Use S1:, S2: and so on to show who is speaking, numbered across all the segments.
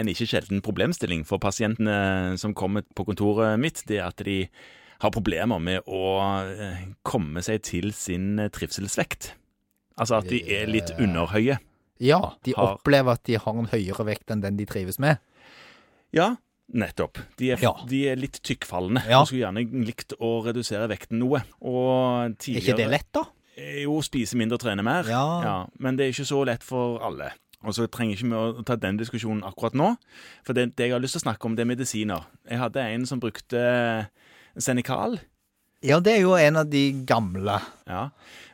S1: en ikke sjelden problemstilling for pasientene som kommer på kontoret mitt, det er at de har problemer med å eh, komme seg til sin trivselsvekt. Altså at de er litt underhøye.
S2: Ja, de
S1: Har-
S2: opplever at de har en høyere vekt enn den de trives med.
S1: Ja, nettopp. De er,
S2: Ja.
S1: de er litt tykkfallende.
S2: Ja.
S1: Du skulle gjerne likt å redusere vekten noe. Og
S2: Er ikke det
S1: tidligere
S2: lett, da?
S1: Jo, spise mindre, trene mer.
S2: Ja.
S1: Men det er ikke så lett for alle. Og så trenger ikke vi å ta den diskusjonen akkurat nå. For det, det jeg har lyst til å snakke om, det er medisiner. Jeg hadde en som brukte Senikal.
S2: Ja, det er jo en av de gamle.
S1: Ja.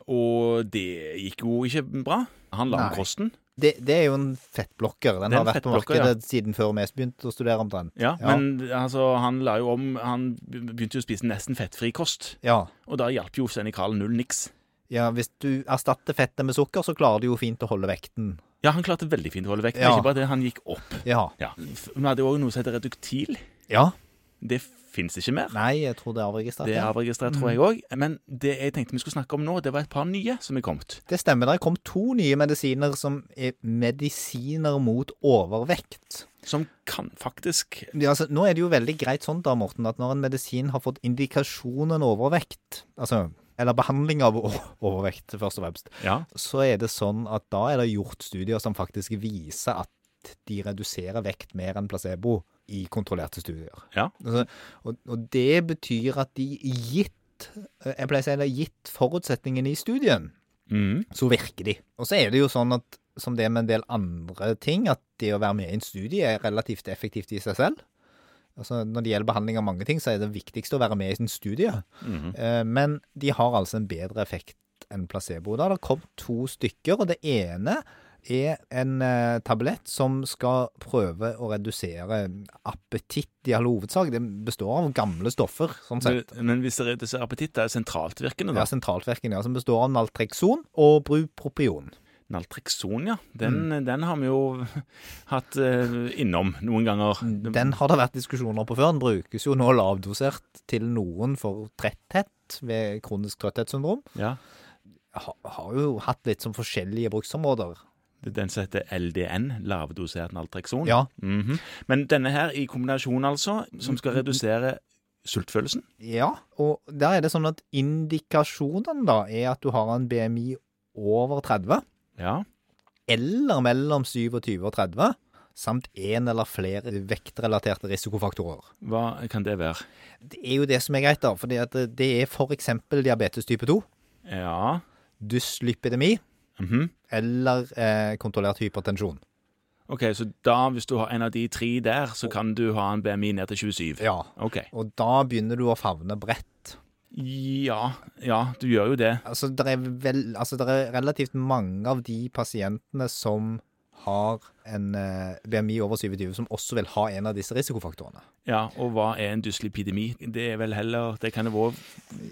S1: Og det gikk jo ikke bra. Han la om
S2: Nei.
S1: kosten.
S2: Det, det er jo en fettblokker. Den
S1: Det er
S2: har
S1: en
S2: vært på
S1: fettblokker,
S2: markedet siden før vi begynte å studere omtrent.
S1: Ja,
S2: Ja.
S1: Men altså, han la jo om Han begynte jo å spise nesten fettfri kost.
S2: Ja.
S1: Og da hjalp jo Senikal null niks.
S2: ja, hvis du erstatter fettet med sukker, så klarer du jo fint å holde vekten.
S1: Ja, han klarte veldig fint å holde vekten.
S2: Ja.
S1: Ikke bare det, han gikk opp.
S2: Ja.
S1: Ja. F- Vi hadde òg noe som heter reduktil.
S2: Ja.
S1: Det fins ikke mer.
S2: Nei, jeg tror det er avregistrert.
S1: Det er
S2: ja. Mm.
S1: avregistrert, tror jeg òg. Men det jeg tenkte vi skulle snakke om nå, det var et par nye som er kommet.
S2: Det stemmer. Det kom to nye medisiner som er medisiner mot overvekt.
S1: Som kan faktisk
S2: Ja, altså, nå er det jo veldig greit sånn da, Morten, at når en medisin har fått indikasjonen overvekt, altså, eller behandling av o- overvekt, først og fremst,
S1: Ja.
S2: så er det sånn at da er det gjort studier som faktisk viser at de reduserer vekt mer enn placebo i kontrollerte studier.
S1: Ja.
S2: Altså, og, og det betyr at de gitt, eh, jeg pleier å si det, gitt forutsetningene i studien,
S1: Mhm.
S2: så virker de. Og så er det jo sånn at som det er med en del andre ting, at det å være med i en studie er relativt effektivt i seg selv. Altså, når det gjelder behandling av mange ting, så er det viktigste å være med i en studie.
S1: Mhm.
S2: Eh, Men de har altså en bedre effekt enn placebo. Da har det kommet to stykker, og det ene er en eh, tablett som skal prøve å redusere appetitt i all hovedsak. Det består av gamle stoffer, sånn sett.
S1: Men hvis det reduserer appetitt, det er sentraltvirkende,
S2: Ja,
S1: da.
S2: sentraltverken, ja, som består av naltrekson og brupropion.
S1: Naltrekson, ja. Den,
S2: Mm.
S1: den har vi jo hatt eh, innom noen ganger.
S2: Mm, Den har det vært diskusjoner på før. Den brukes jo nå lavdosert til noen for tretthet ved kronisk trøtthetssyndrom.
S1: Ja.
S2: Ha, har jo hatt litt som forskjellige bruksområder.
S1: Det er Den som heter LDN, lavdosert naltrekson.
S2: Ja.
S1: Mhm. Men denne her i kombinasjon, altså, som skal redusere sultfølelsen.
S2: ja. Og der er det sånn at indikasjonen da er at du har en BMI over 30,
S1: Ja.
S2: eller mellom 27 og 30, samt én eller flere vektrelaterte risikofaktorer.
S1: Hva kan det være?
S2: Det er jo det som er greit, da. For det er f.eks. diabetes type 2,
S1: Ja.
S2: dyslipidemi
S1: Mhm.
S2: eller eh, kontrollert hypertensjon.
S1: Ok, så da, hvis du har en av de tre der, så kan du ha en BMI ned til 27?
S2: Ja.
S1: Ok.
S2: Og da begynner du å favne bredt.
S1: Ja, ja, du gjør jo det.
S2: Altså, det er, vel, altså, der er relativt mange av de pasientene som har en eh, BMI over 27, som også vil ha en av disse risikofaktorene.
S1: Ja, og hva er en dyslipidemi? Det er vel heller Det kan jo også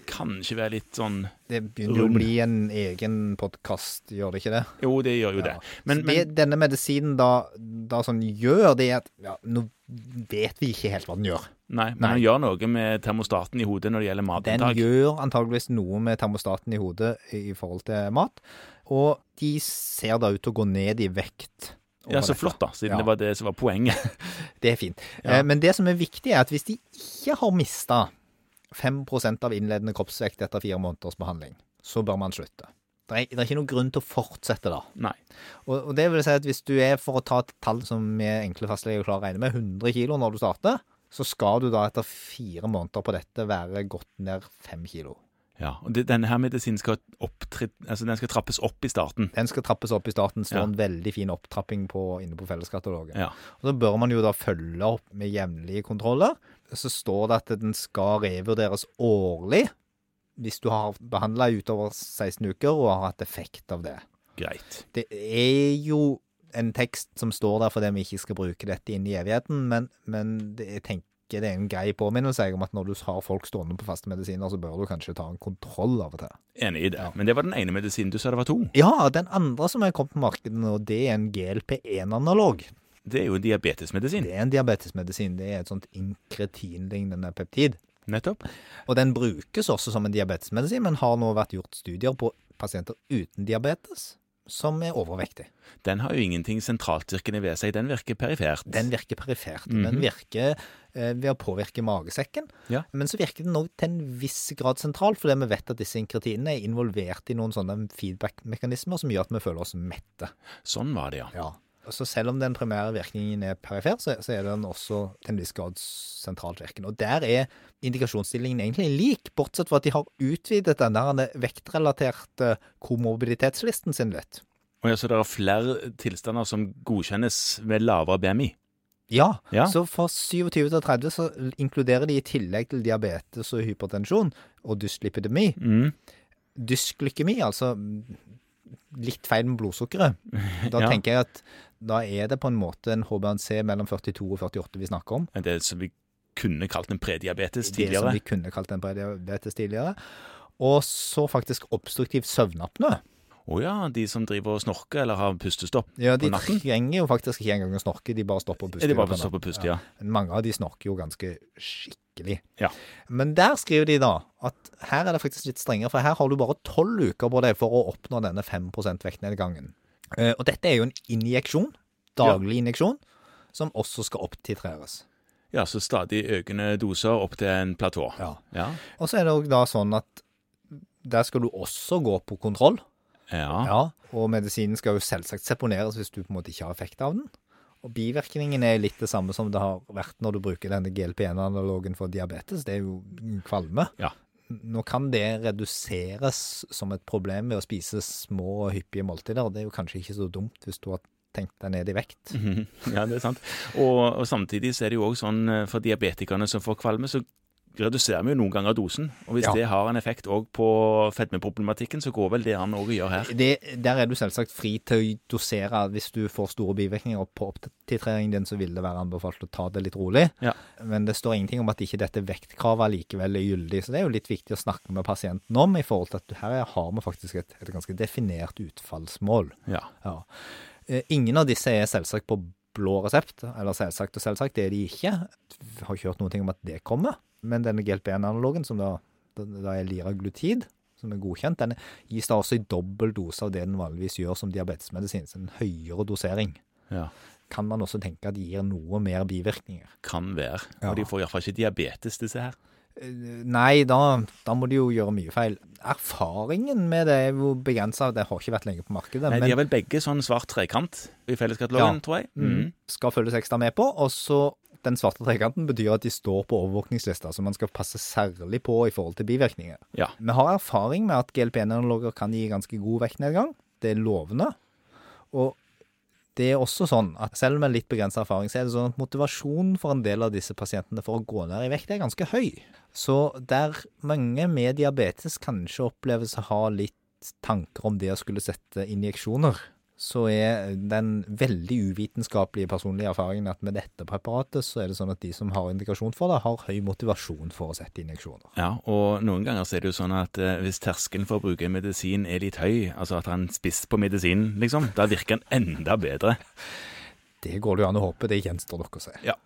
S1: kanskje være litt sånn
S2: Det begynner jo å
S1: Rund.
S2: bli en egen podkast, gjør det ikke det?
S1: Jo, det gjør jo det.
S2: Ja.
S1: Men,
S2: Så det
S1: men
S2: denne medisinen da, da sånn gjør, det er at ja, nå vet vi ikke helt hva den gjør.
S1: Nei, men
S2: Nei.
S1: han gjør noe med termostaten i hodet når det gjelder
S2: Den
S1: matinntak.
S2: gjør antageligvis noe med termostaten i hodet i forhold til mat, og de ser da ut til å gå ned i vekt.
S1: Ja,
S2: over
S1: så
S2: dette.
S1: flott, da, siden
S2: Ja.
S1: det var det som var poenget.
S2: Det er fint.
S1: Ja.
S2: Eh, Men det som er viktig, er at hvis de ikke har mista 5 av innledende kroppsvekt etter fire måneders behandling, så bør man slutte. Det er, det er ikke noen grunn til å fortsette da.
S1: Nei.
S2: Og, og det vil si at hvis du er, for å ta et tall som vi enkle fastleger klarer å regne med, 100 kilo når du starter, så skal du da etter fire måneder på dette være gått ned fem kilo.
S1: Ja, og det, Denne her medisinen skal, opptre, altså den skal trappes opp i starten.
S2: Den skal trappes opp i starten, så
S1: Ja.
S2: en veldig fin opptrapping på, inne på felleskatalogen.
S1: Ja.
S2: Og så bør man jo da følge opp med jevnlige kontroller. Så står det at den skal revurderes årlig hvis du har behandla utover 16 uker og har hatt effekt av det.
S1: Greit.
S2: Det er jo en tekst som står der fordi vi ikke skal bruke dette inn i evigheten, men, men det, jeg tenker det er en grei påminnelse jeg, om at når du har folk stående på faste medisiner, så bør du kanskje ta en kontroll av og til.
S1: Enig i det.
S2: Ja.
S1: Men det var den ene medisinen. Du sa det var to.
S2: Ja, den andre som er kommet på markedet nå, det er en GLP-1-analog.
S1: Det er jo en diabetesmedisin.
S2: Det er en diabetesmedisin. Det er et sånt inkretinlignende peptid.
S1: Nettopp.
S2: Og den brukes også som en diabetesmedisin, men har nå vært gjort studier på pasienter uten diabetes som er overvektig.
S1: Den har jo ingenting sentraltvirkende ved seg, den virker perifert.
S2: Den virker perifert.
S1: Mhm.
S2: Den virker eh, ved å påvirke magesekken.
S1: Ja.
S2: Men så virker den òg til en viss grad sentral, fordi vi vet at disse inkretinene er involvert i noen sånne feedback-mekanismer som gjør at vi føler oss mette.
S1: Sånn var det, ja.
S2: Og Så selv om den primære virkningen er perifer, så, så er den også til en viss grad sentralt virkende. Og der er indikasjonsstillingen egentlig lik, bortsett fra at de har utvidet den der vektrelaterte komorbiditetslisten sin litt.
S1: Og ja, Så det er flere tilstander som godkjennes ved lavere BMI?
S2: Ja,
S1: Ja.
S2: så fra 27 til 30 så inkluderer de i tillegg til diabetes og hypertensjon og dyslipidemi,
S1: Mm.
S2: dysglykemi, altså litt feil med blodsukkeret. Da
S1: Ja.
S2: tenker jeg at da er det på en måte en HbA1c mellom 42 og 48 vi snakker om.
S1: Det som vi kunne kalt en prediabetes
S2: Det som
S1: tidligere.
S2: vi kunne kalt en prediabetes tidligere. Og så faktisk obstruktiv søvnapnø.
S1: Å ja, de som driver og snorker eller har pustestopp.
S2: Ja,
S1: På
S2: de
S1: natten?
S2: trenger jo faktisk ikke engang å snorke, de bare stopper å puste.
S1: Er de
S2: i løpet
S1: bare
S2: av
S1: stopper å puste, ja.
S2: natten. Mange av de snorker jo ganske skikkelig.
S1: Ja.
S2: Men der skriver de da at her er det faktisk litt strengere, for her har du bare tolv uker på deg for å oppnå denne 5 vektnedgangen. Eh, Og dette er jo en injeksjon, daglig injeksjon, som også skal opptitreres.
S1: Ja, så stadig økende doser opp til en platå.
S2: Ja.
S1: Ja.
S2: Og så er det òg da sånn at der skal du også gå på kontroll.
S1: ja.
S2: Ja, og medisinen skal jo selvsagt seponeres hvis du på en måte ikke har effekt av den. Og bivirkningen er litt det samme som det har vært når du bruker denne GLP-1-analogen for diabetes, det er jo kvalme.
S1: Ja.
S2: Nå kan det reduseres som et problem ved å spise små og hyppige måltider, og det er jo kanskje ikke så dumt hvis du har tenkt deg ned i vekt.
S1: Mhm. Ja, det er sant. Og, og samtidig så er det jo òg sånn eh, for diabetikerne som får kvalme, så reduserer vi jo noen ganger dosen. Og hvis
S2: Ja.
S1: det har en effekt òg på fedmeproblematikken, så går vel det an òg å gjøre her.
S2: Det, der er du selvsagt fri til å dosere hvis du får store bivirkninger. og På opptitreringen din så vil det være anbefalt å ta det litt rolig.
S1: Ja.
S2: Men det står ingenting om at ikke dette vektkravet likevel er gyldig. Så det er jo litt viktig å snakke med pasienten om, i forhold til at her har vi faktisk et, et ganske definert utfallsmål.
S1: Ja.
S2: Ja. Eh, Ingen av disse er selvsagt på blå resept, eller selvsagt og selvsagt, det er de ikke. Vi har ikke hørt noen ting om at det kommer. Men denne GLP-1-analogen, som da, den- da er liraglutid, som er godkjent, den gis da også i dobbel dose av det den vanligvis gjør som diabetesmedisin, så en høyere dosering.
S1: ja.
S2: Kan man også tenke at gir noe mer bivirkninger?
S1: Kan være.
S2: Ja.
S1: Og de får iallfall ikke diabetes, disse her.
S2: Eh, Nei, da, da må de jo gjøre mye feil. Erfaringen med det er jo begrensa, det har ikke vært lenge på markedet.
S1: Nei,
S2: men-
S1: De har vel begge sånn svart trekant i felleskatalogen,
S2: Ja.
S1: tror jeg. Mhm.
S2: mm. skal følges ekstra med på. Og så den svarte trekanten betyr at de står på overvåkningslista, så man skal passe særlig på i forhold til bivirkninger.
S1: Ja.
S2: Vi har erfaring med at GLP-1-analoger kan gi ganske god vektnedgang. Det er lovende. Og det er også sånn at selv med litt begrensa erfaring, så er det sånn at motivasjonen for en del av disse pasientene for å gå ned i vekt er ganske høy. Så der mange med diabetes kanskje oppleves å ha litt tanker om det å skulle sette injeksjoner, så er den veldig uvitenskapelige personlige erfaringen at med dette preparatet, så er det sånn at de som har indikasjon for det, har høy motivasjon for å sette injeksjoner.
S1: ja. Og noen ganger så er det jo sånn at eh, hvis terskelen for å bruke en medisin er litt høy, altså at han er spiss på medisinen, liksom, da virker han enda bedre.
S2: Det går det jo an å håpe, det gjenstår nok å se.
S1: Ja.